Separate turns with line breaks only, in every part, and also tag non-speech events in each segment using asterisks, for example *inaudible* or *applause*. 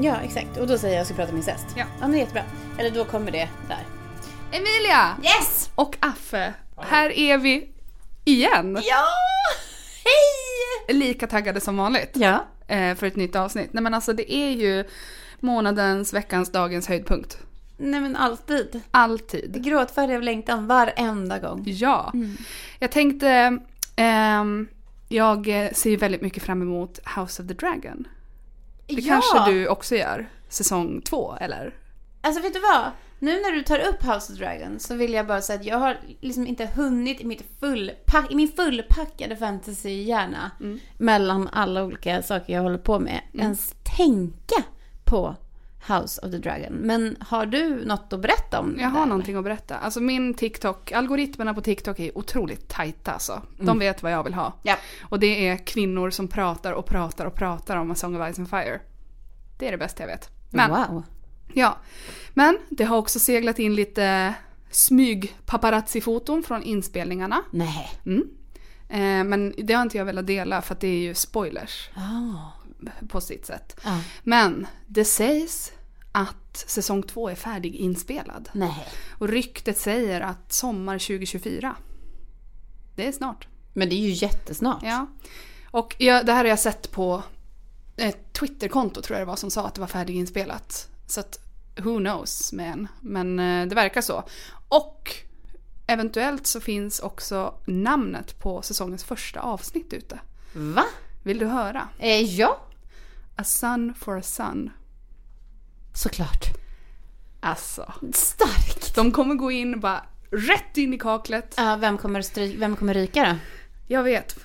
Ja, exakt. Och då säger jag att jag ska prata om incest.
Ja.
ja, men det är jättebra. Eller då kommer det där.
Emilia!
Yes!
Och Affe. Här är vi igen.
Ja! Hej!
Lika taggade som vanligt
Ja.
eh, för ett nytt avsnitt. Nej men alltså det är ju månadens, veckans, dagens höjdpunkt.
Nej men alltid.
Alltid.
Gråtfärdig av längtan varenda gång.
Ja. Jag tänkte, ehm, jag eh, ser ju väldigt mycket fram emot House of the Dragon. Det kanske du också gör? Säsong två eller?
Alltså vet du vad? Nu när du tar upp House of Dragon så vill jag bara säga att jag har liksom inte hunnit i, mitt fullpack, i min fullpackade fantasyhjärna
Mm.
mellan alla olika saker jag håller på med ens tänka på House of the Dragon. Men har du något att berätta om?
Jag
det
har någonting att berätta. Alltså min TikTok, algoritmerna på TikTok är otroligt tajta alltså. De vet vad jag vill ha.
Ja.
Och det är kvinnor som pratar och pratar och pratar om A Song of Ice and Fire. Det är det bästa jag vet. Men,
Wow.
ja. Men det har också seglat in lite smyg paparazzi-foton från inspelningarna.
Nej.
Mm. Eh, men det har inte jag velat dela för att det är ju spoilers
Ah.
på sitt sätt.
Ah.
Men det sägs att säsong två är färdiginspelad.
Nej.
Och ryktet säger att sommar 2024. Det är snart.
Men det är ju jättesnart.
Ja. Och jag, det här har jag sett på ett Twitterkonto tror jag det var som sa att det var färdiginspelat. Så att who knows man. Men eh, det verkar så. Och eventuellt så finns också namnet på säsongens första avsnitt ute.
Va?
Vill du höra?
Eh, ja.
A Sun for a Sun.
Såklart.
Alltså.
Starkt.
De kommer gå in bara rätt in i kaklet.
Ja, vem, kommer stry- vem kommer ryka då?
Jag vet.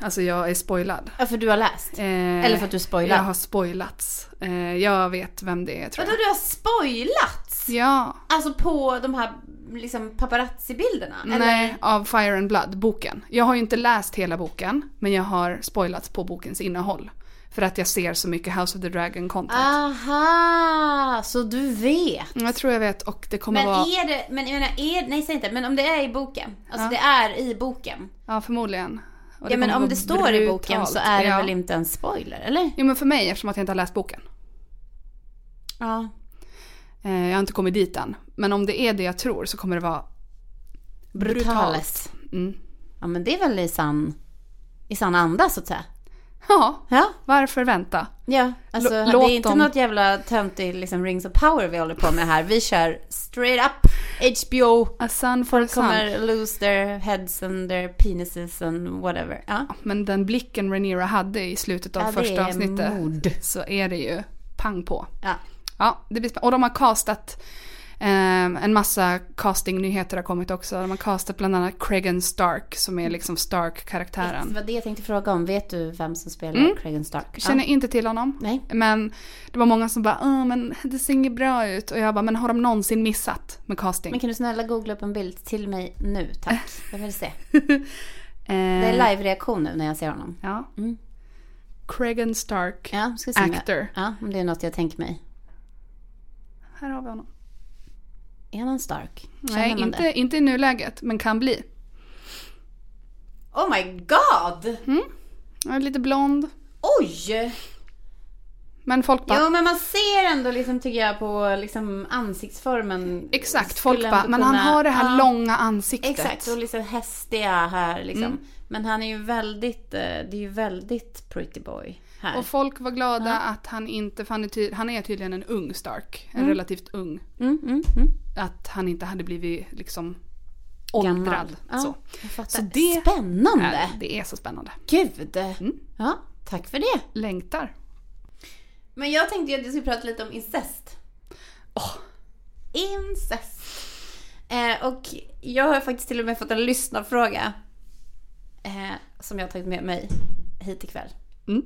Alltså jag är spoilad.
Ja, för du har läst.
Eh,
Eller för att du spoilar.
Jag har spoilats. Eh, jag vet vem det är tror
Vadå
jag.
du har spoilats?
Ja,
Alltså på de här liksom paparazzi-bilderna?
nej, av Fire and Blood, boken. Jag har ju inte läst hela boken, men jag har spoilats på bokens innehåll. För att jag ser så mycket House of the Dragon content.
Ah. Aha, så du vet.
Mm, Jag tror jag vet och det kommer
Men
vara,
är det, men jag menar, är, nej säg inte, men om det är i boken. Alltså
Ja.
det är i boken.
ja förmodligen. Och
Ja men
kommer
om
vara
det står i boken så
brutalt.
är det
ja.
väl inte en spoiler, eller?
Jo men för mig eftersom att jag inte har läst boken.
Ja.
Eh, jag har inte kommit dit än. Men om det är det jag tror så kommer det vara brutalt.
Brutales.
Mm.
Ja men det är väl i sann, i sann anda så att säga.
Ja,
Ja.
varför vänta?
Ja, alltså
L-
det
låt
är inte
dem-
något jävla töntig liksom rings of power vi håller på med här. Vi kör straight up HBO.
A Sun for a Sun.
kommer lose their heads and their penises and whatever. Ja.
Men den blicken Rhaenyra hade i slutet av
Ja, det
första
är
avsnittet
mod.
så är det ju pang på.
Ja.
Ja, det blir spännande. Och de har castat ehm, en massa castingnyheter har kommit också. De har castat bland annat Cregan Stark som är liksom
Det
Stark-karaktären.
var det jag tänkte fråga om. Vet du vem som spelar
Mm.
Cregan Stark?
Känner
ja.
inte till honom.
Nej.
Men det var många som bara "Åh, men det ser inget bra ut och jag bara men har de någonsin missat med casting?
Men kan du snälla googla upp en bild till mig nu,
*laughs*
tack. Jag vill se.
Eh,
Det är live-reaktion nu när jag ser honom.
Ja.
Mm.
Cregan Stark,
Ja, ska se om jag-
actor.
Ja, om det är något jag tänker mig.
Här har vi honom.
Är han en Stark? Känner
Nej,
man
inte,
det?
inte i nuläget, men kan bli.
Oh my god!
Ja, Lite blond.
Oj!
Men folk bara,
Jo, men man ser ändå liksom, tycker jag, på liksom, ansiktsformen.
exakt,
Skulle
folk
ändå
bara, men han
kunna-
har det här
Ja.
långa ansiktet.
Exakt, och liksom hästiga här liksom.
Mm.
Men han är ju väldigt, eh, det är ju väldigt pretty boy här.
Och folk var glada att han inte, för han är, ty- han är tydligen en ung Stark, en relativt ung.
Mm, mm, mm.
Att han inte hade blivit liksom
Gammal.
åldrad.
Ja,
Så.
jag fattar.
Så det
Spännande!
Nej, det är så spännande. Mm.
Gud! Ja, tack för det.
Längtar.
Men jag tänkte ju att vi skulle prata lite om incest. Incest. Eh, och jag har faktiskt till och med fått en lyssnarfråga. Eh, som jag har tagit med mig hit ikväll.
Mm.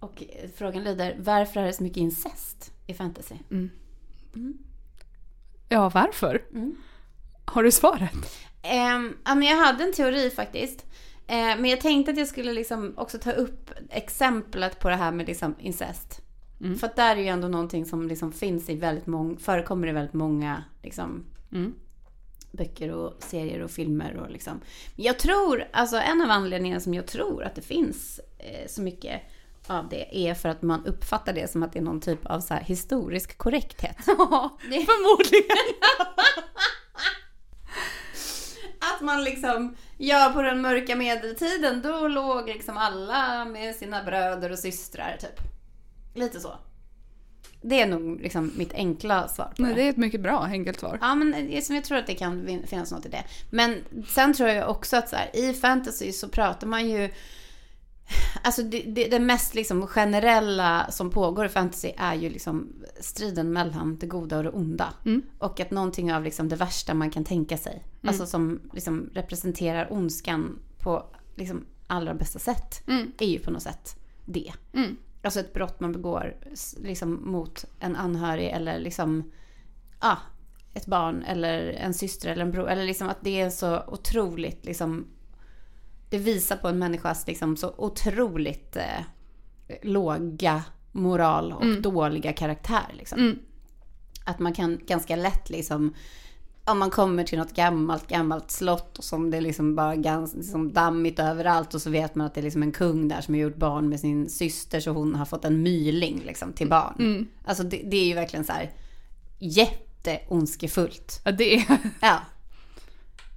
Och eh, frågan lyder, varför är det så mycket incest i fantasy?
Mm. Ja, varför? Har du svaret?
Mm. Ehm, ja, men jag hade en teori faktiskt. Eh, men jag tänkte att jag skulle liksom också ta upp exemplet på det här med liksom incest. För att där är ju ändå någonting som liksom finns i väldigt många, förekommer i väldigt många liksom,
Mm.
böcker och serier och filmer. Och liksom. Men Jag tror, alltså en av anledningarna som jag tror att det finns eh, så mycket av det är för att man uppfattar det som att det är någon typ av så här historisk *laughs* korrekthet. Det-
Förmodligen.
*laughs* Att man liksom, ja på den mörka medeltiden då låg liksom alla med sina bröder och systrar typ. Lite så. Det är nog liksom mitt enkla svar på
Nej, det är ett mycket bra enkelt svar.
Ja, men det är som jag tror att det kan vin- finnas något i det. Men sen tror jag också att så här, i fantasy så pratar man ju... Alltså det, det, det mest liksom generella som pågår i fantasy är ju liksom striden mellan det goda och det onda.
Mm.
Och att någonting av liksom det värsta man kan tänka sig. Alltså som liksom representerar ondskan på liksom allra bästa sätt. Är ju på något sätt det.
Mm.
Alltså ett brott man begår s- liksom mot en anhörig eller liksom ja, ett barn eller en syster eller en bror. Eller liksom att det är så otroligt liksom. Det visar på en människas liksom så otroligt eh, låga moral och dåliga karaktär liksom.
Mm.
Att man kan ganska lätt liksom om man kommer till något gammalt, gammalt slott och som det är liksom bara ganska liksom dammigt överallt och så vet man att det är liksom en kung där som har gjort barn med sin syster så hon har fått en myling liksom till barn. Alltså det, det är ju verkligen så här jätteondskefullt.
Ja, det, är, *laughs*
Ja.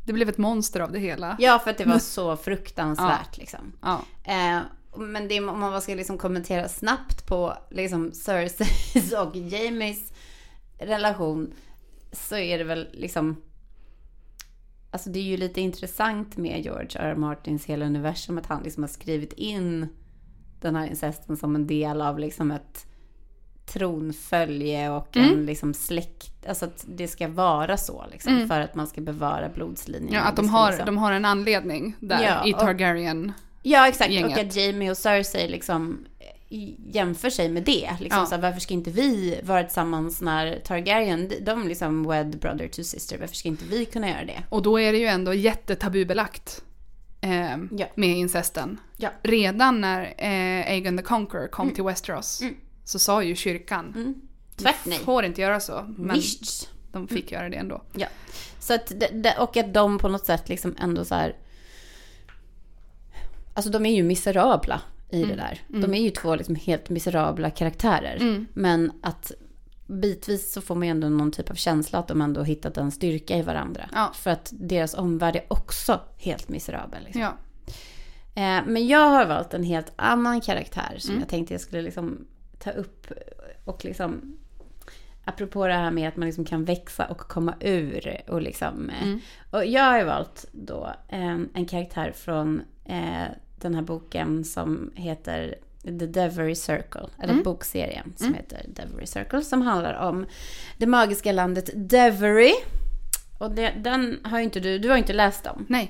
det blev ett monster av det hela.
ja, för att det var så fruktansvärt liksom.
Ja.
Eh, men det, om man bara ska liksom kommentera snabbt på liksom Cerseis *laughs* och Jamies relation så är det väl liksom... Alltså det är ju lite intressant med George R. R. Martins hela universum att han liksom har skrivit in den här incesten som en del av liksom ett tronfölje och
Mm.
en liksom släkt. Alltså att det ska vara så liksom för att man ska bevara blodslinjen.
Mm. Ja,
och
att
det
de
ska
har,
liksom-
de har en anledning där
Ja,
i
och-
Targaryen.
Ja, exakt. Och
gänget.
att Jamie och Cersei liksom eh, jämför sig med det. Liksom,
Ja.
så här, varför ska inte vi vara tillsammans när Targaryen, de- de liksom wed brother to sister, varför ska inte vi kunna göra det?
Och då är det ju ändå jättetabubelagt eh,
Ja.
med incesten.
Ja. Mm.
Redan när eh, Aegon the Conqueror kom till Westeros så sa ju kyrkan
Tvärt
"Ni
nej. Mm.
får inte göra så. Men
Visst.
de fick göra det ändå.
Ja. Så att, de- de- och att de på något sätt liksom ändå så här... Alltså de är ju miserabla i
Mm.
det där. De är ju två liksom helt miserabla karaktärer. Men att bitvis så får man ju ändå någon typ av känsla att de ändå har hittat en styrka i varandra.
Ja.
För att deras omvärld är också helt miserabel. Liksom.
Ja.
Eh, men jag har valt en helt annan karaktär som jag tänkte jag skulle liksom ta upp och liksom Apropå det här med att man liksom kan växa och komma ur och liksom. eh, Och jag har ju valt då eh, en karaktär från eh, den här boken som heter The Devery Circle. Eller bokserien som heter Devery Circle. Som handlar om det magiska landet Devery. Och det, den har ju inte du, du har ju inte läst om.
Nej.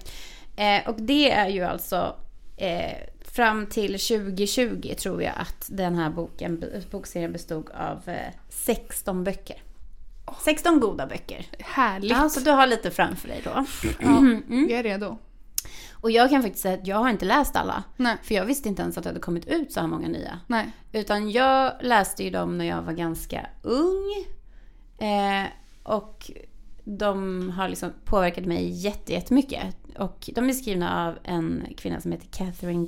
Eh, och det är ju alltså eh, fram till 2020 tror jag att den här boken, bokserien bestod av eh, 16 böcker. 16 goda böcker.
Härligt.
Ja, Mm. så du har lite framför dig då.
Ja, Jag är redo.
Och jag kan faktiskt säga att jag har inte läst alla.
Nej.
För jag visste inte ens att det hade kommit ut så här många nya.
Nej.
Utan jag läste ju dem när jag var ganska ung. Eh, och de har liksom påverkat mig jätte- jättemycket. Och de är skrivna av en kvinna som heter Catherine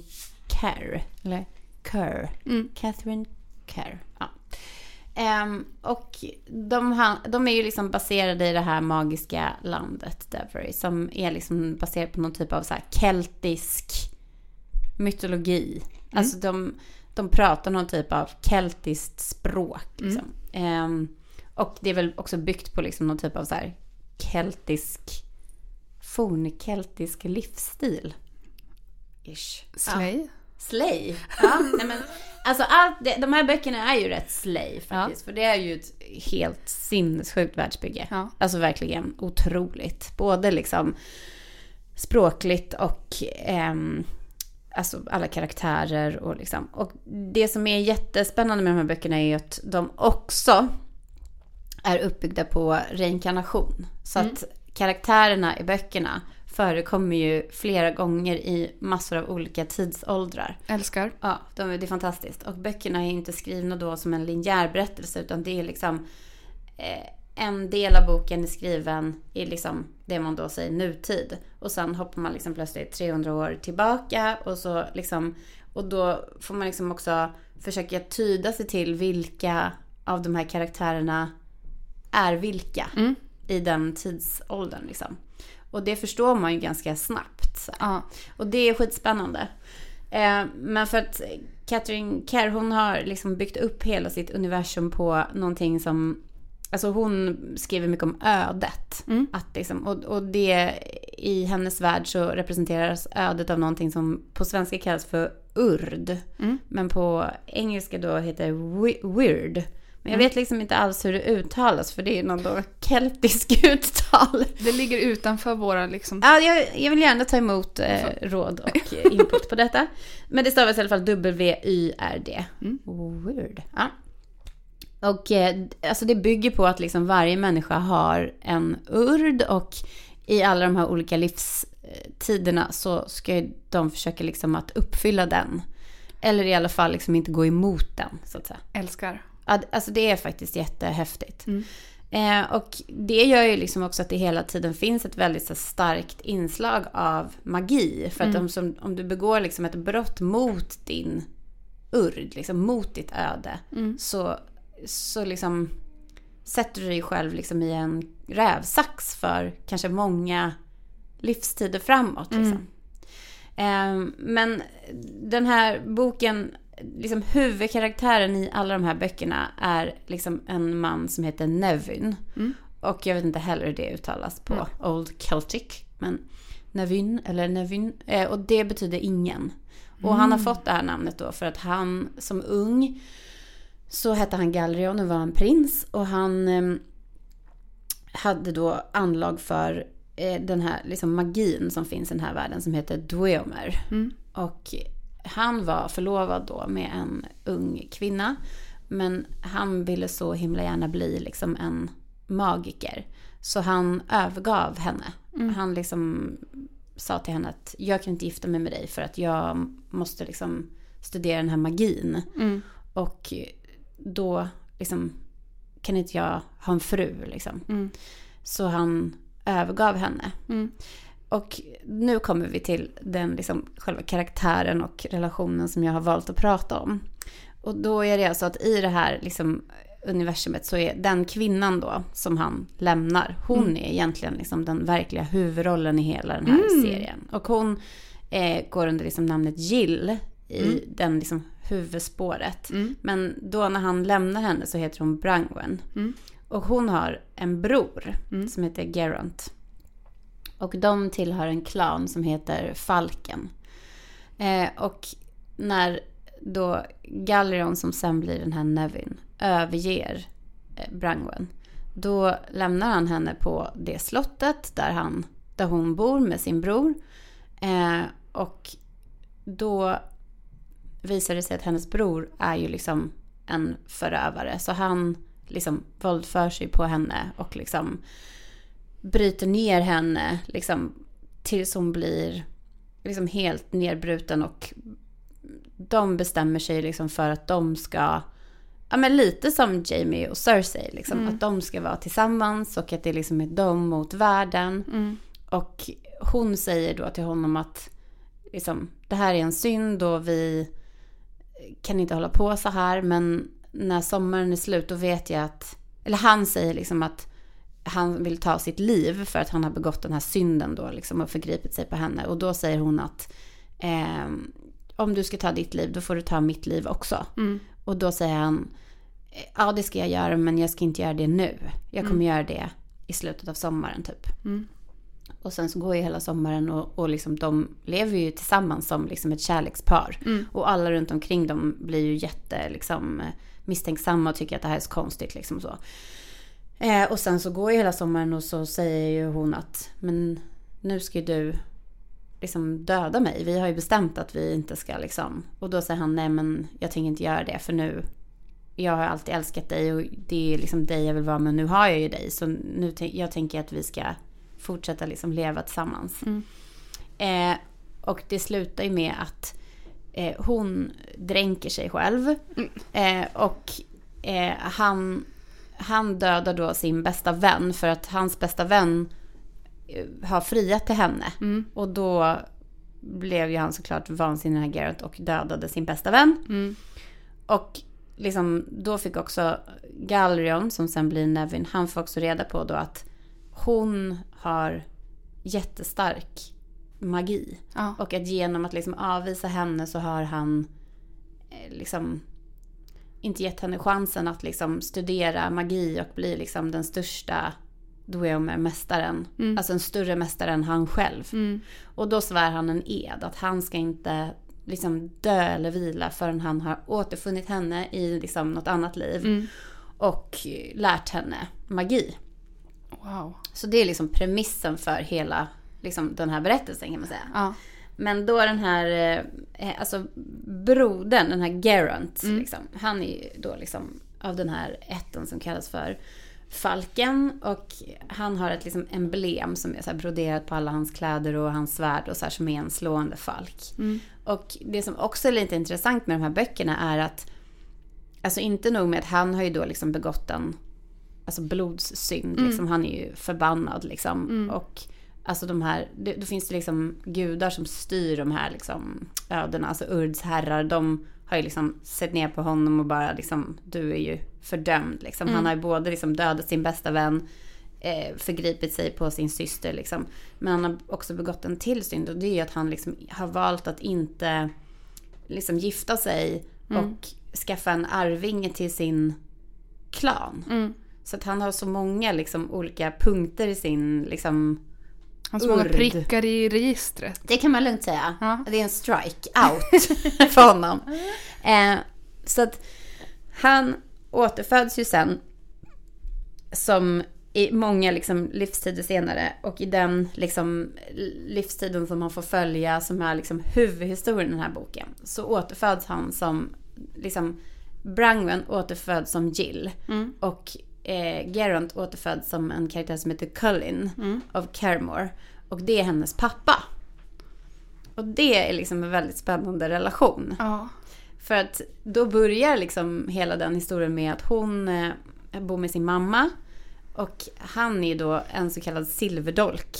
Kerr. Eller Kerr.
Mm.
Catherine Kerr. Ja. Ehm, och de, han- de är ju liksom baserade i det här magiska landet Devery. Som är liksom baserat på någon typ av så här keltisk mytologi. Alltså de, de pratar någon typ av keltiskt språk. Liksom. Ehm, och det är väl också byggt på liksom någon typ av så här keltisk, fornkeltisk livsstil. Ish.
Slay.
Slay. Ja, nej men, alltså allt det, de här böckerna är ju rätt slay faktiskt. För det är ju ett helt sinnessjukt världsbygge.
Ja.
Alltså verkligen otroligt. Både liksom språkligt och ehm, alltså alla karaktärer och liksom. Och det som är jättespännande med de här böckerna är ju att de också är uppbyggda på reinkarnation. Så att karaktärerna i böckerna förekommer ju flera gånger i massor av olika tidsåldrar.
Älskar.
Ja, de, det är fantastiskt. Och böckerna är ju inte skrivna då som en linjär berättelse utan det är liksom eh, en del av boken är skriven i liksom det man då säger nutid. Och sen hoppar man liksom plötsligt 300 år tillbaka och så liksom och då får man liksom också försöka tyda sig till vilka av de här karaktärerna är vilka
Mm.
i den tidsåldern. Liksom. Och det förstår man ju ganska snabbt. Så. här.
Ja.
Och det är skitspännande. Eh, men för att Catherine Kerr hon har liksom byggt upp hela sitt universum på någonting som... Alltså hon skriver mycket om ödet.
Mm.
Att liksom, och, och det i hennes värld så representeras ödet av någonting som på svenska kallas för urd.
Mm.
Men på engelska då heter wi- weird. Men
Mm.
jag vet liksom inte alls hur det uttalas för det är någon då keltisk *laughs* uttal.
Det ligger utanför våra liksom...
Ja, jag, jag vill gärna ta emot eh,
*laughs*
råd och eh, input på detta. Men det stavas i alla fall W-Y-R-D.
Mm.
Oh, Weird. Ja. Och eh, alltså det bygger på att liksom varje människa har en urd och i alla de här olika livstiderna så ska ju de försöka liksom att uppfylla den. Eller i alla fall liksom inte gå emot den, så att säga.
Älskar.
Ja, d- Alltså det är faktiskt jättehäftigt.
Mm.
Eh, och det gör ju liksom också att det hela tiden finns ett väldigt så här, starkt inslag av magi. För att om, som, om du begår liksom ett brott mot din urd, liksom mot ditt öde,
Mm.
så, så liksom sätter du dig själv liksom i en rävsax för kanske många livstider framåt.
Mm.
Liksom. Ehm, men den här boken, liksom huvudkaraktären i alla de här böckerna är liksom en man som heter Nevin.
Mm.
Och jag vet inte heller hur det uttalas på Old Celtic. Men Nevin eller Nevin. eh, Och det betyder ingen. Och han
Mm.
har fått det här namnet då för att han som ung så hette han Galrion och var en prins. Och han ehm, hade då anlag för eh, den här liksom magin som finns i den här världen som heter Dweomer.
Mm.
Och han var förlovad då med en ung kvinna. Men han ville så himla gärna bli liksom en magiker. Så han övergav henne. Han liksom sa till henne att jag kan inte gifta mig med dig för att jag måste liksom studera den här magin.
Mm.
Och då liksom kan inte jag ha en fru liksom.
Mm.
Så han övergav henne.
Mm.
Och nu kommer vi till den liksom själva karaktären och relationen som jag har valt att prata om. Och då är det alltså att i det här liksom universumet så är den kvinnan då som han lämnar, hon
Mm.
är egentligen liksom den verkliga huvudrollen i hela den här
Mm.
serien. Och hon eh, går under liksom namnet Jill i den liksom huvudspåret.
Mm.
Men då när han lämnar henne så heter hon Brangwen.
Mm.
Och hon har en bror
Mm.
som heter Geront. Och de tillhör en klan som heter Falken. Eh, och när då Galleron som sen blir den här Nevin överger eh, Brangwen. Då lämnar han henne på det slottet där, han, där hon bor med sin bror. Eh, och då visar det sig att hennes bror är ju liksom en förövare. Så han liksom våldför sig på henne och liksom bryter ner henne liksom tills hon blir liksom helt nedbruten och de bestämmer sig liksom för att de ska Ja men lite som Jamie och Cersei liksom. Att de ska vara tillsammans och att det liksom är de mot världen.
Mm.
Och hon säger då till honom att liksom, det här är en synd och vi kan inte hålla på så här. Men när sommaren är slut då vet jag att, eller han säger liksom att han vill ta sitt liv för att han har begått den här synden då liksom och förgripit sig på henne. Och då säger hon att ehm, om du ska ta ditt liv då får du ta mitt liv också.
Mm.
Och då säger han, ja det ska jag göra men jag ska inte göra det nu. Jag kommer göra det i slutet av sommaren typ.
Mm.
Och sen så går ju hela sommaren och, och liksom de lever ju tillsammans som liksom ett kärlekspar.
Mm.
Och alla runt omkring dem blir ju jätte liksom, misstänksamma och tycker att det här är så konstigt. Liksom så. Eh, och sen så går ju hela sommaren och så säger ju hon att men nu ska ju du liksom döda mig. Vi har ju bestämt att vi inte ska liksom. Och då säger han nej men jag tänker inte göra det för nu. Jag har alltid älskat dig och det är liksom dig jag vill vara med nu har jag ju dig. Så nu tän- jag tänker att vi ska fortsätta liksom leva tillsammans.
Mm.
Eh, och det slutar ju med att eh, hon dränker sig själv.
Mm.
Eh, och eh, han, han dödar då sin bästa vän för att hans bästa vän eh, har friat till henne.
Mm.
Och då blev ju han såklart vansinnig den här Garrett och dödade sin bästa vän.
Mm.
Och liksom, då fick också Galrion, som sen blir Nevin, han får också reda på då att hon har jättestark magi.
Ja.
Och att genom att liksom avvisa henne så har han eh, liksom inte gett henne chansen att liksom studera magi och bli liksom den största Dueomer-mästaren. Alltså en större mästare än han själv. Och då svär han en ed att han ska inte liksom dö eller vila förrän han har återfunnit henne i liksom något annat liv. Och eh, lärt henne magi.
Wow.
Så det är liksom premissen för hela liksom, den här berättelsen kan man säga.
Ja.
Men då den här, eh, alltså brodern, den här Gerant, liksom, han är ju då liksom av den här ätten som kallas för Falken och han har ett liksom emblem som är så här broderat på alla hans kläder och hans svärd och så här som är en slående falk. Och det som också är lite intressant med de här böckerna är att Alltså inte nog med att han har ju då liksom begått en alltså blodssynd. Liksom. Han är ju förbannad liksom. Och alltså de här, det, då finns det liksom gudar som styr de här liksom ödena. Alltså Urds herrar, de har ju liksom sett ner på honom och bara liksom, du är ju fördömd liksom. Han har ju både liksom dödat sin bästa vän, eh, förgripit sig på sin syster liksom. Men han har också begått en till synd och det är ju att han liksom har valt att inte liksom gifta sig och skaffa en arvinge till sin klan. Så att han har så många liksom olika punkter i sin liksom...
Han har så många
Urd.
prickar i registret.
Det kan man lugnt säga.
Ja.
Det är en strike out för honom. Eh, så att han återföds ju sen som i många liksom livstider senare och i den liksom livstiden som man får följa som är liksom huvudhistorien i den här boken så återföds han som liksom Brangwen återföds som Jill och eh, Geront återföds som en karaktär som heter Cullen av Caremore och det är hennes pappa. Och det är liksom en väldigt spännande relation.
Ja.
För att då börjar liksom hela den historien med att hon eh, bor med sin mamma. Och han är ju då en så kallad silverdolk.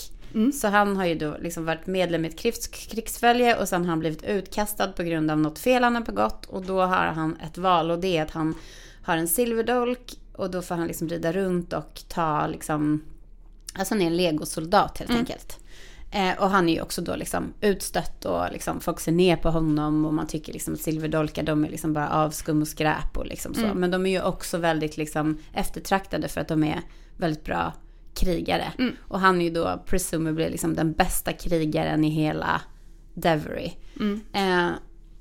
Så han har ju då liksom varit medlem i ett krigs- krigsfölje och sen har han blivit utkastad på grund av något fel han har begått. Och då har han ett val och det är att han har en silverdolk och då får han liksom rida runt och ta liksom Alltså han är en legosoldat helt enkelt. Eh, och han är ju också då liksom utstött och liksom folk ser ner på honom och man tycker liksom att silverdolkar de är liksom bara avskum och skräp och liksom så. Men de är ju också väldigt liksom eftertraktade för att de är väldigt bra krigare. Och han är ju då presumably liksom den bästa krigaren i hela Devery. Eh,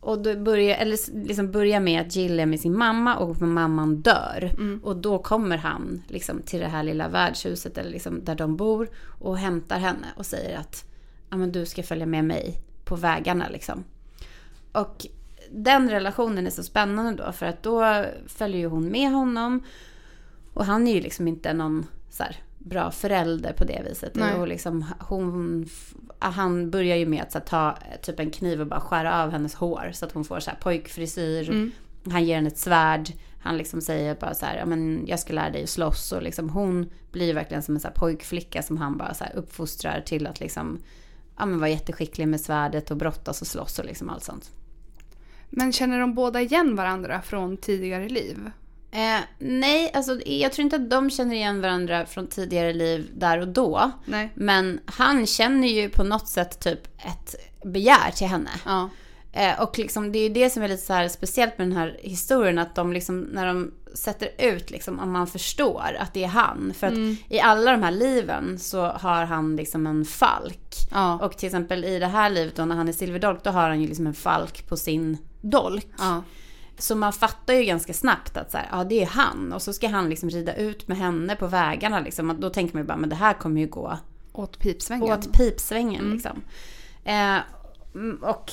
och då börjar, eller s- liksom börjar med att Jill är med sin mamma och mamman dör. Och då kommer han liksom till det här lilla värdshuset eller liksom där de bor och hämtar henne och säger att ja, men du ska följa med mig på vägarna liksom. Och den relationen är så spännande då för att då följer ju hon med honom och han är ju liksom inte någon så här, bra förälder på det viset.
Nej.
Och liksom, hon, han börjar ju med att så här, ta eh, typ en kniv och bara skära av hennes hår så att hon får så här, pojkfrisyr. Han ger henne ett svärd. Han liksom säger bara så här, "Ja, men jag ska lära dig att slåss. Och liksom, hon blir ju verkligen som en så här, pojkflicka som han bara så här, uppfostrar till att liksom, ja, men vara jätteskicklig med svärdet och brottas och slåss och liksom allt sånt.
Men känner de båda igen varandra från tidigare liv?
Eh, nej, alltså, jag tror inte att de känner igen varandra från tidigare liv där och då.
Nej.
Men han känner ju på något sätt typ ett begär till henne.
Ja.
Eh, och liksom, det är ju det som är lite så här speciellt med den här historien. Att de liksom, när de sätter ut liksom, om man förstår att det är han. För att i alla de här liven så har han liksom en falk.
Ja.
Och till exempel i det här livet då när han är silverdolk då har han ju liksom en falk på sin dolk.
ja.
Så man fattar ju ganska snabbt att så här, ja det är han. Och så ska han liksom rida ut med henne på vägarna liksom. Och då tänker man ju bara, men det här kommer ju gå
Åt pipsvängen. Mm.
åt pipsvängen liksom. Eh, mm, och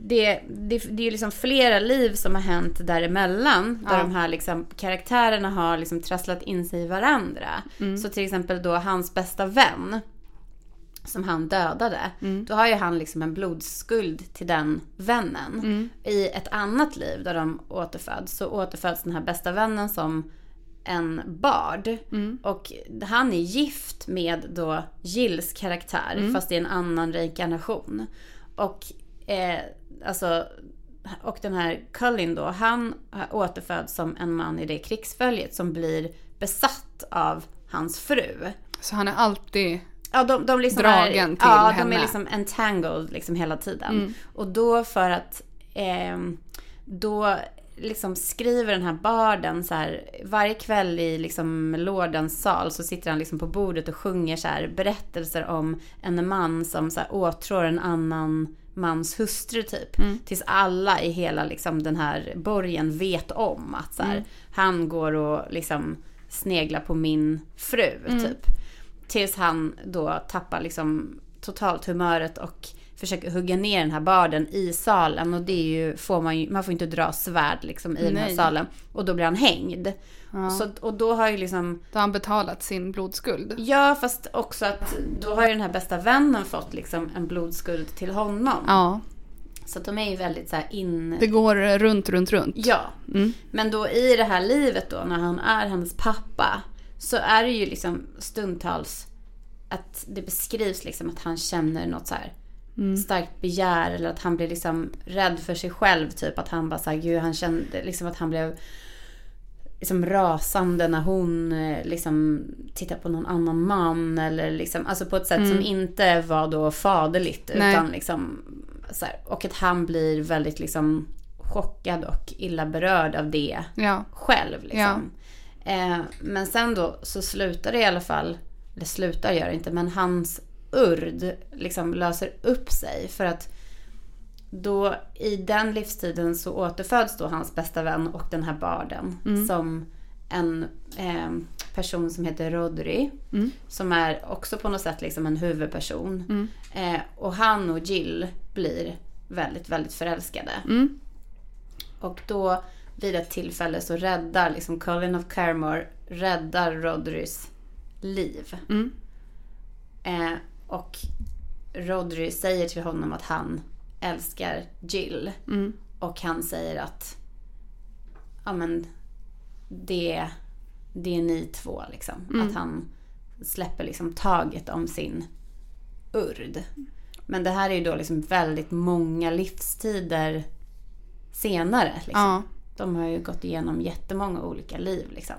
det, det, det är ju liksom flera liv som har hänt däremellan. Där
Ja.
de här liksom, karaktärerna har liksom trasslat in sig i varandra.
Mm.
Så till exempel då hans bästa vän. Som han dödade.
Mm.
Då har ju han liksom en blodskuld till den vännen.
Mm.
I ett annat liv där de återföds. Så återföds den här bästa vännen som en bard. Och han är gift med då Jills karaktär fast i en annan reinkarnation. Och eh, alltså och den här Cullen då, han återföds som en man i det krigsföljet som blir besatt av hans fru.
Så han är alltid...
Ja, de, de liksom
Dragen
är,
till
ja, de
henne. Mm.
är liksom entangled liksom hela tiden. Och då för att ehm, då liksom skriver den här barden så här varje kväll i liksom lordens sal så sitter han liksom på bordet och sjunger så här berättelser om en man som så här åtrår en annan mans hustru typ.
Mm.
Tills alla i hela liksom den här borgen vet om att så här,
Mm.
han går och liksom sneglar på min fru
Mm.
typ. Tills han då tappar liksom totalt humöret och försöker hugga ner den här barden i salen. Och det är ju, får man ju, man får inte dra svärd liksom i den här
Nej.
salen. Och då blir han hängd. Så, och då har ju liksom,
Då har han betalat sin blodskuld.
ja fast också att då har ju den här bästa vännen fått liksom en blodskuld till honom.
Ja.
Så att de är ju väldigt så här in...
Det går eh, runt, runt, runt. Mm.
Ja. Men då i det här livet då när han är hennes pappa så är det ju liksom stundtals att det beskrivs liksom att han känner något så här starkt begär eller att han blir liksom rädd för sig själv typ att han bara så här, gud han kände liksom att han blev liksom rasande när hon eh, liksom tittar på någon annan man eller liksom, alltså på ett sätt som inte var då faderligt
Nej.
utan liksom så här, och att han blir väldigt liksom chockad och illa berörd av det
Ja.
själv liksom. Eh, men sen då så slutar det i alla fall, eller slutar gör det inte, men hans urd liksom löser upp sig för att då i den livstiden så återföds då hans bästa vän och den här barden som en eh, person som heter Rodri
Mm.
som är också på något sätt liksom en huvudperson. Eh, och han och Jill blir väldigt, väldigt förälskade.
Mm.
Och då vid ett tillfälle så räddar liksom Colin of Carmore räddar Rodrys liv.
Mm.
Eh, och Rodry säger till honom att han älskar Jill.
Mm.
Och han säger att ja men det, det är ni två liksom. Att han släpper liksom taget om sin urd. Men det här är ju då liksom väldigt många livstider senare. Liksom.
Ja.
De har ju gått igenom jättemånga olika liv. Liksom.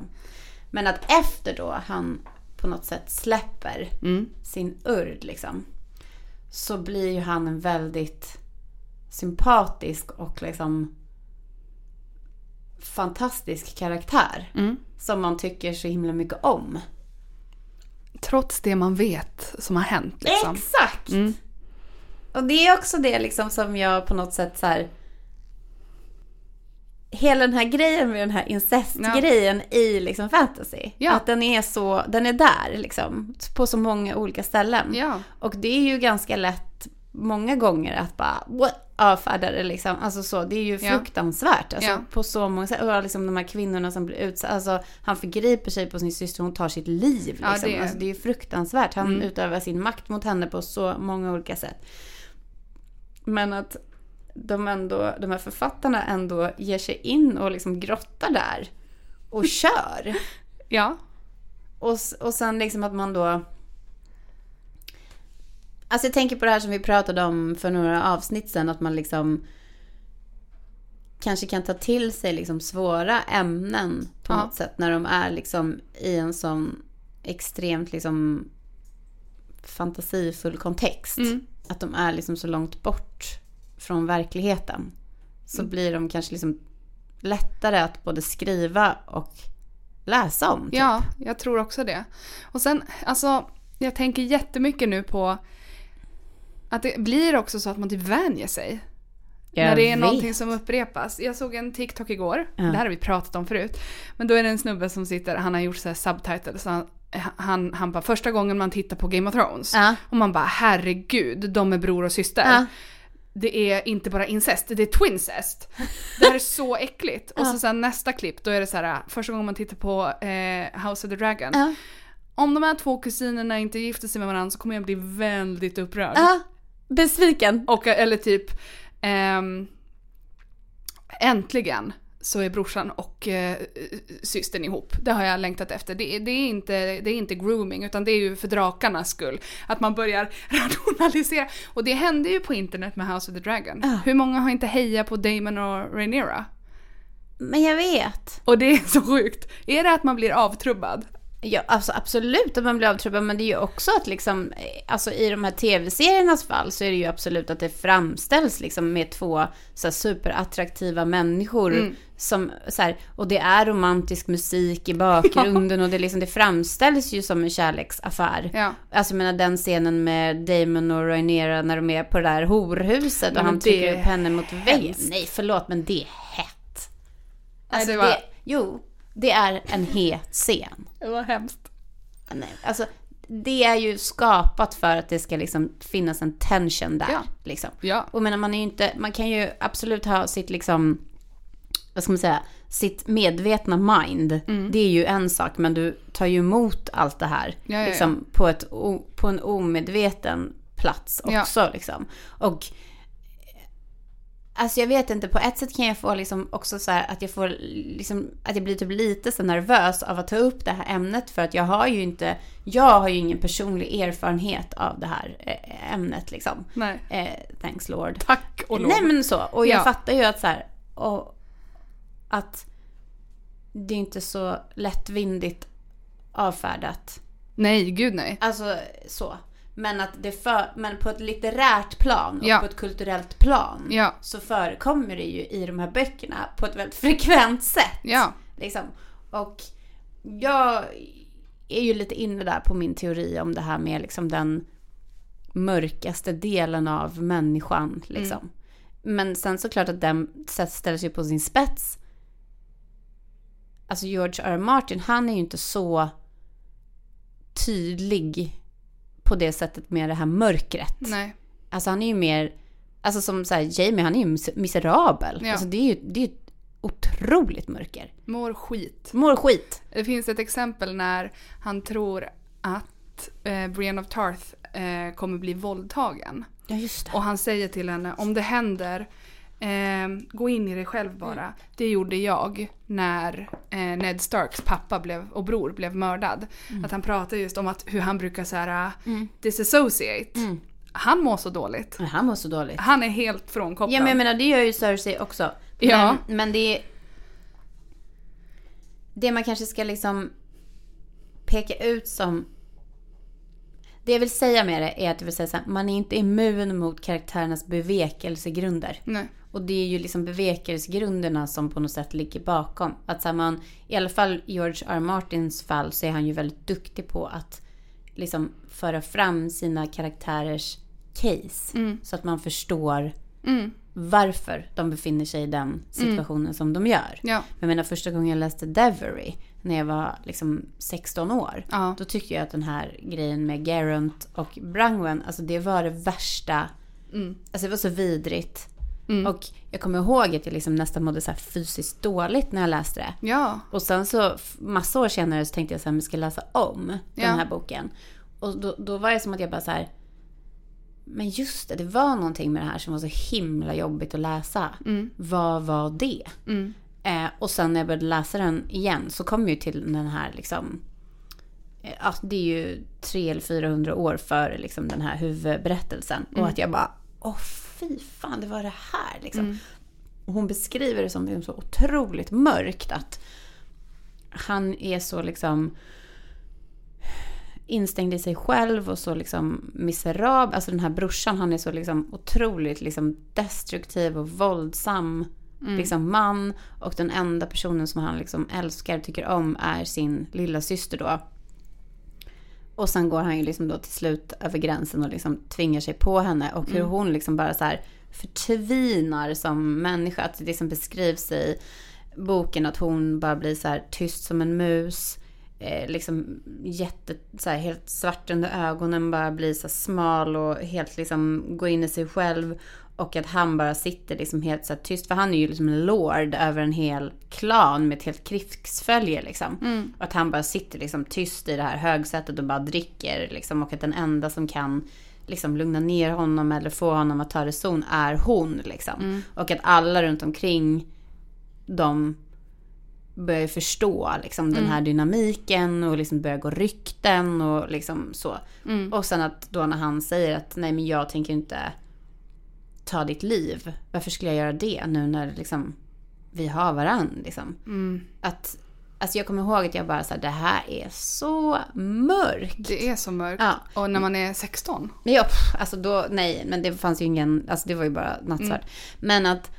Men att efter då han på något sätt släpper
Mm.
sin urd liksom, så blir ju han en väldigt sympatisk och liksom fantastisk karaktär.
Mm.
Som man tycker så himla mycket om.
Trots det man vet som har hänt liksom.
Exakt!
Mm.
Och det är också det liksom som jag på något sätt så här. Hela den här grejen med den här incestgrejen i liksom fantasy.
Ja.
Att den är så, den är där liksom. På så många olika ställen.
Ja.
Och det är ju ganska lätt många gånger att bara what? avfärda det liksom. Alltså så, det är ju
Ja.
fruktansvärt. Alltså,
Ja.
På så många sätt. Och liksom de här kvinnorna som blir utsatta. Alltså han förgriper sig på sin syster, hon tar sitt liv. Liksom.
Ja, det är- Mm.
Alltså, det är ju fruktansvärt. Han utövar sin makt mot henne på så många olika sätt. Men att de, ändå, de här författarna ändå ger sig in och liksom grottar där. Och kör.
Ja.
Och, s- och sen liksom att man då... Alltså jag tänker på det här som vi pratade om för några avsnitt sedan, att man liksom kanske kan ta till sig liksom svåra ämnen på
Ja.
något sätt när de är liksom i en sån extremt liksom fantasifull kontext.
Mm.
Att de är liksom så långt bort från verkligheten. Så
Mm.
blir de kanske liksom lättare att både skriva och läsa om. typ.
Ja, jag tror också det. Och sen, alltså, jag tänker jättemycket nu på att det blir också så att man typ vänjer sig.
Jag
när det är
vet.
någonting som upprepas. Jag såg en TikTok igår, det här har vi pratat om förut. Men då är det en snubbe som sitter, han har gjort så här subtitles. Så han, han, han bara, första gången man tittar på Game of Thrones.
Ja.
Och man bara, herregud, de är bror och syster.
Ja.
Det är inte bara incest, det är twincest. Det här är så *laughs* äckligt. Och så sen nästa klipp, då är det så här, första gången man tittar på eh, House of the Dragon.
Ja.
Om de här två kusinerna inte gifter sig med varandra så kommer jag bli väldigt upprörd.
Ja. Besviken.
Och, eller typ, ehm, äntligen så är brorsan och eh, systern ihop. Det har jag längtat efter. Det, det, är inte, det är inte grooming utan det är ju för drakarnas skull. Att man börjar *laughs* rationalisera. Och det hände ju på internet med House of the Dragon.
Ja.
Hur många har inte hejat på Damon och Rhaenyra?
Men jag vet.
Och det är så sjukt. Är det att man blir avtrubbad?
Ja, alltså absolut att man blir avtrubbad, men det är ju också att liksom, eh, alltså i de här tv-seriernas fall så är det ju absolut att det framställs liksom med två så här, superattraktiva människor som så här, och det är romantisk musik i bakgrunden och det liksom, det framställs ju som en kärleksaffär.
Ja.
Alltså jag menar den scenen med Damon och Rhaenyra när de är på det där horhuset och
Men
han
det
trycker
är
upp henne mot väggen.
hemskt.
Nej, förlåt, men det är hett.
Alltså,
Nej,
det var-
det, jo, det är en het scen.
Det var hemskt.
Nej, alltså, det är ju skapat för att det ska liksom finnas en tension där.
Ja.
Liksom.
Ja.
Och jag menar, man, är ju inte, man kan ju absolut ha sitt liksom, vad ska man säga, sitt medvetna mind.
Mm.
Det är ju en sak, men du tar ju emot allt det här.
Ja, ja, ja.
Liksom, på, ett, o- på en omedveten plats
Ja.
också. Liksom. Och Alltså jag vet inte, på ett sätt kan jag få liksom också så här att jag får liksom, att jag blir typ lite så nervös av att ta upp det här ämnet för att jag har ju inte, jag har ju ingen personlig erfarenhet av det här eh, ämnet liksom.
Nej.
Eh, thanks Lord.
Tack och lov.
Nej men så, och jag
Ja.
fattar ju att så här, och att det är inte så lättvindigt avfärdat.
nej, gud nej.
Alltså så. Men att det för, men på ett litterärt plan och
Ja.
på ett kulturellt plan
Ja.
så förekommer det ju i de här böckerna på ett väldigt frekvent sätt.
Ja.
Liksom. Och jag är ju lite inne där på min teori om det här med liksom den mörkaste delen av människan.
Mm.
Liksom. Men sen såklart att den sätt- ställs ju på sin spets. Alltså George R. R. Martin, han är ju inte så tydlig på det sättet med det här mörkret.
Nej.
Alltså han är ju mer, alltså som så här, Jamie han är ju mis- miserabel.
Ja.
Alltså det är ju, det är ju ett otroligt mörker.
Mår skit.
Mår skit.
Det finns ett exempel när han tror att eh, Brienne of Tarth eh, kommer bli våldtagen.
Ja just det.
Och han säger till henne, om det händer, eh, gå in i dig själv
Mm.
bara. Det gjorde jag när eh, Ned Starks pappa blev, och bror blev mördad.
Mm.
Att han pratar just om att, hur han brukar så här, ah, disassociate.
Mm.
Han mår så dåligt.
Men han mår så dåligt.
Han är helt frånkopplad.
Ja men jag menar det gör ju Cersei också. Men,
Ja.
men det är... Det man kanske ska liksom peka ut som... Det jag vill säga med det är att jag vill säga så här, man är inte immun mot karaktärernas bevekelsegrunder.
Nej.
Och det är ju liksom bevekelsegrunderna som på något sätt ligger bakom. Att så här, man, I alla fall George R. R. Martins fall så är han ju väldigt duktig på att liksom föra fram sina karaktärers case. Så att man förstår
Mm.
varför de befinner sig i den situationen som de gör.
Ja.
Jag menar första gången jag läste Devery när jag var liksom 16 år.
Ja.
Då tyckte jag att den här grejen med Garant och Brangwen, alltså det var det värsta.
Mm.
Alltså det var så vidrigt.
Mm.
Och jag kommer ihåg att jag liksom nästan mådde så här fysiskt dåligt när jag läste det.
Ja.
Och sen så f- massa år senare så tänkte jag så här, men ska jag läsa om
Ja.
den här boken? Och då, då var det som att jag bara så här, men just det, det var någonting med det här som var så himla jobbigt att läsa. Vad var det?
Mm.
Eh, och sen när jag började läsa den igen så kom jag ju till den här liksom, eh, ja, det är ju 300 eller 400 år före liksom den här huvudberättelsen. Och att jag bara, åh fy fan, det var det här liksom. Och hon beskriver det som så otroligt mörkt att han är så liksom instängd i sig själv och så liksom miserabel. Alltså den här brorsan han är så liksom otroligt liksom destruktiv och våldsam liksom man. Och den enda personen som han liksom älskar och tycker om är sin lilla syster då. Och sen går han ju liksom då till slut över gränsen och liksom tvingar sig på henne. Och hur hon liksom bara så här förtvinar som människa. Att det liksom beskrivs i boken att hon bara blir så här tyst som en mus. Eh, liksom jätte, så här, helt svart under ögonen, bara blir så här smal och helt liksom går in i sig själv. Och att han bara sitter liksom helt så här tyst, för han är ju liksom en lord över en hel klan med ett helt krigsfölje liksom. Och att han bara sitter liksom tyst i det här högsätet och bara dricker liksom. Och att den enda som kan liksom lugna ner honom eller få honom att ta reson är hon liksom. Och att alla runt omkring de börjar ju förstå liksom, den här dynamiken och liksom börjar gå rykten och liksom så. Och sen att då när han säger att nej men jag tänker inte ta ditt liv. Varför skulle jag göra det nu när liksom, vi har varandra? Liksom. Att, alltså jag kommer ihåg att jag bara så här, det här är så mörkt.
Det är så mörkt.
Ja.
Och när man är 16.
Men jag, pff, alltså då, nej, men det fanns ju ingen, alltså det var ju bara nattsvart. Men att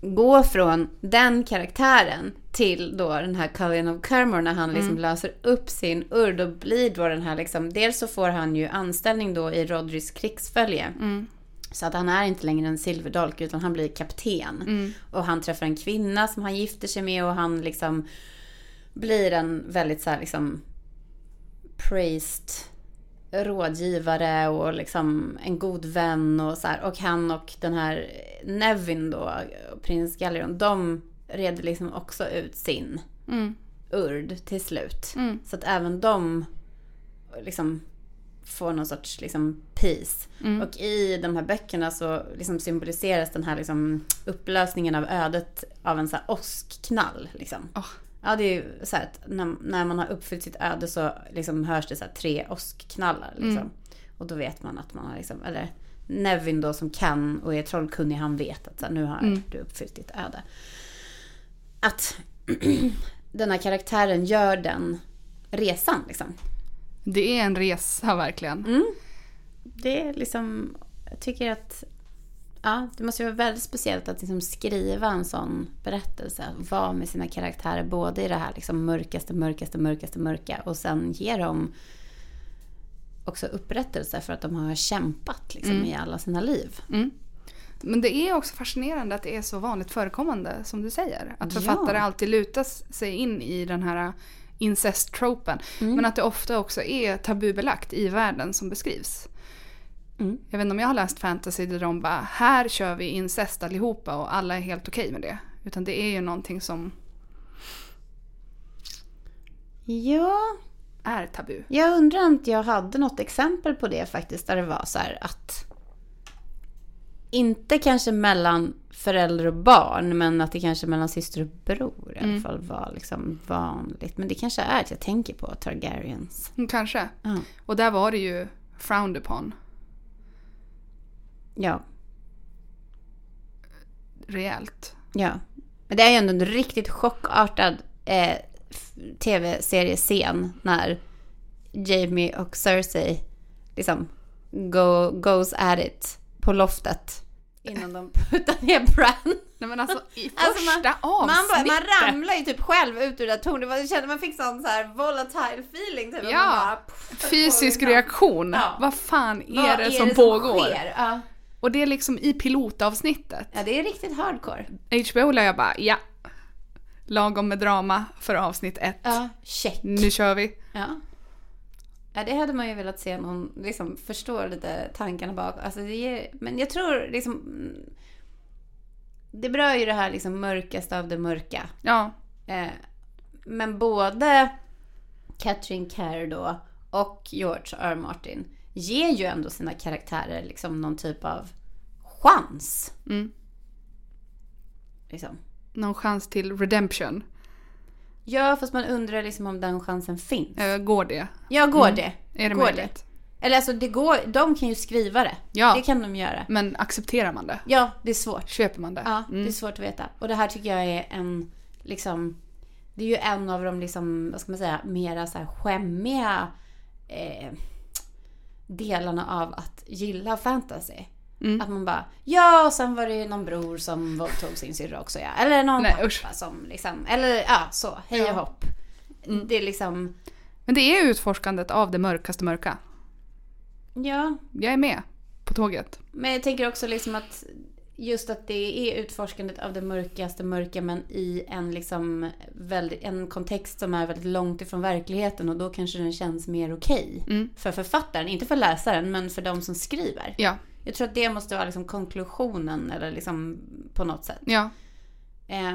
gå från den karaktären till då den här Cullen of Kermor när han liksom löser upp sin urd och blir då den här liksom, dels så får han ju anställning då i Rodrys krigsfölje.
Mm.
Så att han är inte längre en silverdolk utan han blir kapten. Och han träffar en kvinna som han gifter sig med och han liksom blir en väldigt så här liksom praised rådgivare och liksom en god vän och så här. Och han och den här Nevin då, prins Galleon, de reder liksom också ut sin
Mm.
urd till slut. Så att även de liksom får någon sorts liksom peace. Och i de här böckerna så liksom symboliseras den här liksom upplösningen av ödet av en så här åskknall. Liksom.
Åh.
Ja, det är ju så här att när, när man har uppfyllt sitt öde så liksom hörs det så här tre åskknallar. Liksom. Och då vet man att man har liksom, eller Nevin då som kan och är trollkunnig, han vet att så här, nu har du uppfyllt ditt öde. Att *clears throat* den här karaktären gör den resan liksom.
Det är en resa verkligen.
Mm. Det är liksom, jag tycker att Ja, det måste ju vara väldigt speciellt att liksom skriva en sån berättelse. Vara med sina karaktärer både i det här liksom mörkaste, mörkaste, mörkaste, mörka och sen ge dem också upprättelse för att de har kämpat liksom i alla sina liv.
Men det är också fascinerande att det är så vanligt förekommande som du säger. Att författare
Ja.
alltid lutar sig in i den här äh, incest-tropen.
Mm.
Men att det ofta också är tabubelagt i världen som beskrivs.
Mm.
Jag vet inte om jag har läst fantasy där de bara “här kör vi incest allihopa och alla är helt okej med det”. Utan det är ju någonting som
Ja,
är tabu.
jag undrar om inte jag hade något exempel på det faktiskt där det var så här att inte kanske mellan förälder och barn, men att det kanske mellan syster och bror i alla fall var liksom vanligt. Men det kanske är att jag tänker på Targaryens.
Mm, Kanske.
Ja.
Och där var det ju frowned upon
Ja,
rejält.
ja. Men det är ju ändå en riktigt chockartad eh, f- tv-seriescen när Jamie och Cersei liksom go, goes at it på loftet. Innan de *laughs* puttar ner Bran.
Nej men alltså i första
Alltså, man- Man, bara,
avsnittet.
man ramlar ju typ själv ut ur det där tornet. Det var- Jag kände man fick sån så här volatile feeling. Typ.
Ja.
Man bara, pff,
Fysisk
vad går det
reaktion.
Ja.
Vad fan är
fram? Vad
det som pågår?
sker? Ja.
Och det är liksom i pilotavsnittet.
ja, det är riktigt hardcore.
HBO la jag bara, ja. Lagom med drama för avsnitt ett.
Ja, check.
Nu kör vi.
Ja. ja, det hade man ju velat se någon liksom förstå lite tankarna bak. Alltså det är, men jag tror liksom... mm, Det berör ju det här liksom mörkaste av det mörka.
Ja.
Eh, men både Catherine Kerr då och George R. R. Martin ger ju ändå sina karaktärer liksom någon typ av chans.
Mm.
Liksom.
Någon chans till redemption.
Ja, fast man undrar liksom om den chansen finns.
Eh, går det?
Ja, går det?
Är det
går det?
möjligt?
Eller alltså, det går, de kan ju skriva det.
Ja.
Det kan de göra.
Men accepterar man det?
Ja, det är svårt. Mm.
Köper man det?
Ja, det är svårt att veta. Och det här tycker jag är en, liksom, det är ju en av de, liksom, vad ska man säga, mera så här skämmiga eh, delarna av att gilla fantasy. Att man bara, ja, och sen var det ju någon bror som våldtog sin syrra också, ja. Eller någon
Nej,
pappa
usch.
som liksom, eller ja, så, hej och hopp. Det är liksom,
Men det är utforskandet av det mörkaste mörka.
ja,
Jag är med på tåget.
Men jag tänker också liksom att just att det är utforskandet av det mörkaste mörka men i en, liksom väldigt, en kontext som är väldigt långt ifrån verkligheten och då kanske den känns mer okej.
Mm.
För författaren, inte för läsaren men för de som skriver.
Ja.
Jag tror att det måste vara liksom konklusionen eller liksom på något sätt.
Ja.
Eh,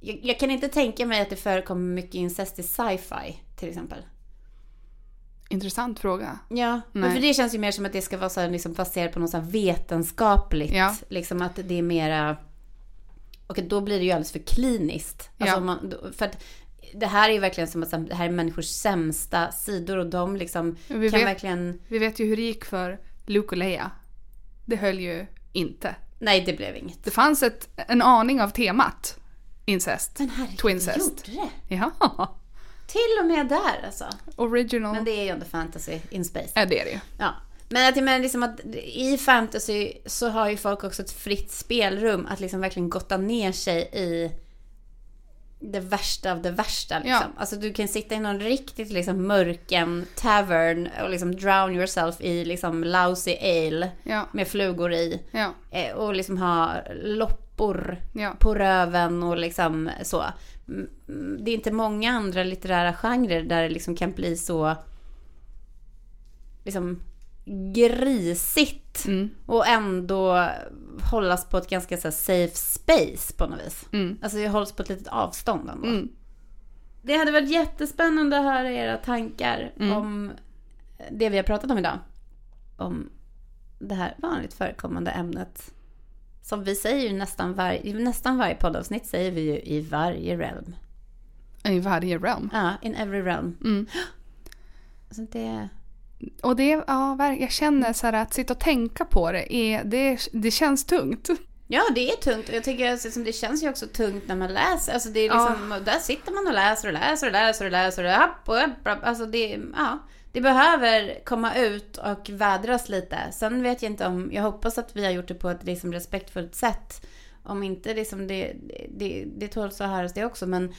jag, jag kan inte tänka mig att det förekommer mycket incest i sci-fi till exempel.
Intressant fråga.
Ja, men
Nej.
för det känns ju mer som att det ska vara så här, liksom, baserat på något så här vetenskapligt.
Ja.
Liksom att det är mera Och då blir det ju alldeles för kliniskt. Alltså
Ja.
om man, då- för att det här är ju verkligen som att så här, det här är människors sämsta sidor och de liksom
Vi
kan
vet-
verkligen...
Vi vet ju hur det gick för Luke och Leia. Det höll ju inte.
Nej, det blev inget.
Det fanns ett, en aning av temat incest.
Men herregud,
Twincest.
det gjorde det.
Ja, *laughs*
Till och med där alltså.
original.
Men det är ju ändå fantasy in space.
Ja, det är det ju.
Ja. Men att jag menar liksom att i fantasy så har ju folk också ett fritt spelrum att liksom verkligen gotta ner sig i det värsta av det värsta liksom.
Ja.
Alltså du kan sitta i någon riktigt liksom mörken tavern och liksom drown yourself i liksom lousy ale
Ja,
med flugor i.
ja,
Eh, Och liksom ha loppor
ja.
på röven och liksom så. Mm, mm, Det är inte många andra litterära genrer där det liksom kan bli så liksom grisigt
Mm,
och ändå hållas på ett ganska så här safe space på något vis.
mm,
Alltså det hålls på ett litet avstånd ändå.
mm.
Det hade varit jättespännande att höra era tankar om det vi har pratat om idag. Om det här vanligt förekommande ämnet. Som vi säger ju nästan, var, i nästan varje poddavsnitt säger vi ju i varje realm.
I varje realm.
Ja, in every realm.
Mm.
Så det,
Och det, ja, verk- jag känner så här att sitta och tänka på det, är, det, det känns tungt.
ja, det är tungt. Och jag tycker alltså, som det känns ju också tungt när man läser. Alltså det är liksom, där sitter man och läser och läser och läser och läser. Och upp och upp, upp. Alltså det, ja. Det behöver komma ut och vädras lite. Sen vet jag inte om, jag hoppas att vi har gjort det på ett liksom respektfullt sätt. Om inte liksom det, det, det tåls att höras det också men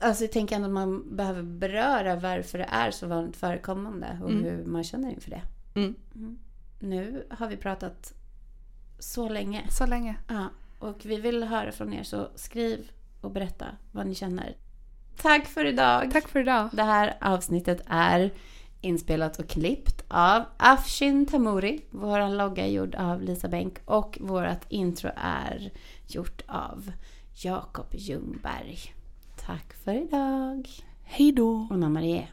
Alltså jag tänker ändå att man behöver beröra varför det är så vanligt förekommande och hur man känner inför det.
Mm.
Mm. Nu har vi pratat så länge.
Så länge.
Ja, och vi vill höra från er så skriv och berätta vad ni känner. Tack för idag!
Tack för idag.
Det här avsnittet är inspelat och klippt av Afshin Tamuri. Vår logga är gjord av Lisa Bänk och vårt intro är gjort av Jakob Ljungberg. Tack för idag!
Hej då.
Och Marie.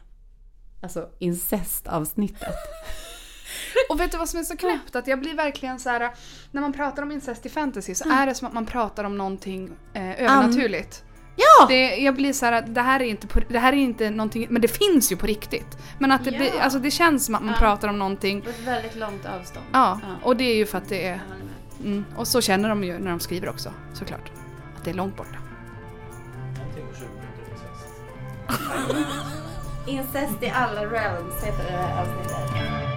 Alltså incestavsnittet.
Och vet du vad som är så knäppt? Att jag blir verkligen så här. när man pratar om incest i
Mm.
fantasy så är det som att man pratar om någonting eh, övernaturligt.
Ja!
Det, jag blir så här att det här är inte, på, det här är inte någonting, men det finns ju på riktigt. Men att det,
Ja.
blir, alltså det känns som att man
Ja.
pratar om någonting.
På ett väldigt långt avstånd.
Ja,
Ja.
och det är ju för att det är,
Jag håller med.
mm, och så känner de ju när de skriver också såklart. Att det är långt borta.
Någonting på 20 minuter precis.
Incest i alla realms heter det här avsnittet.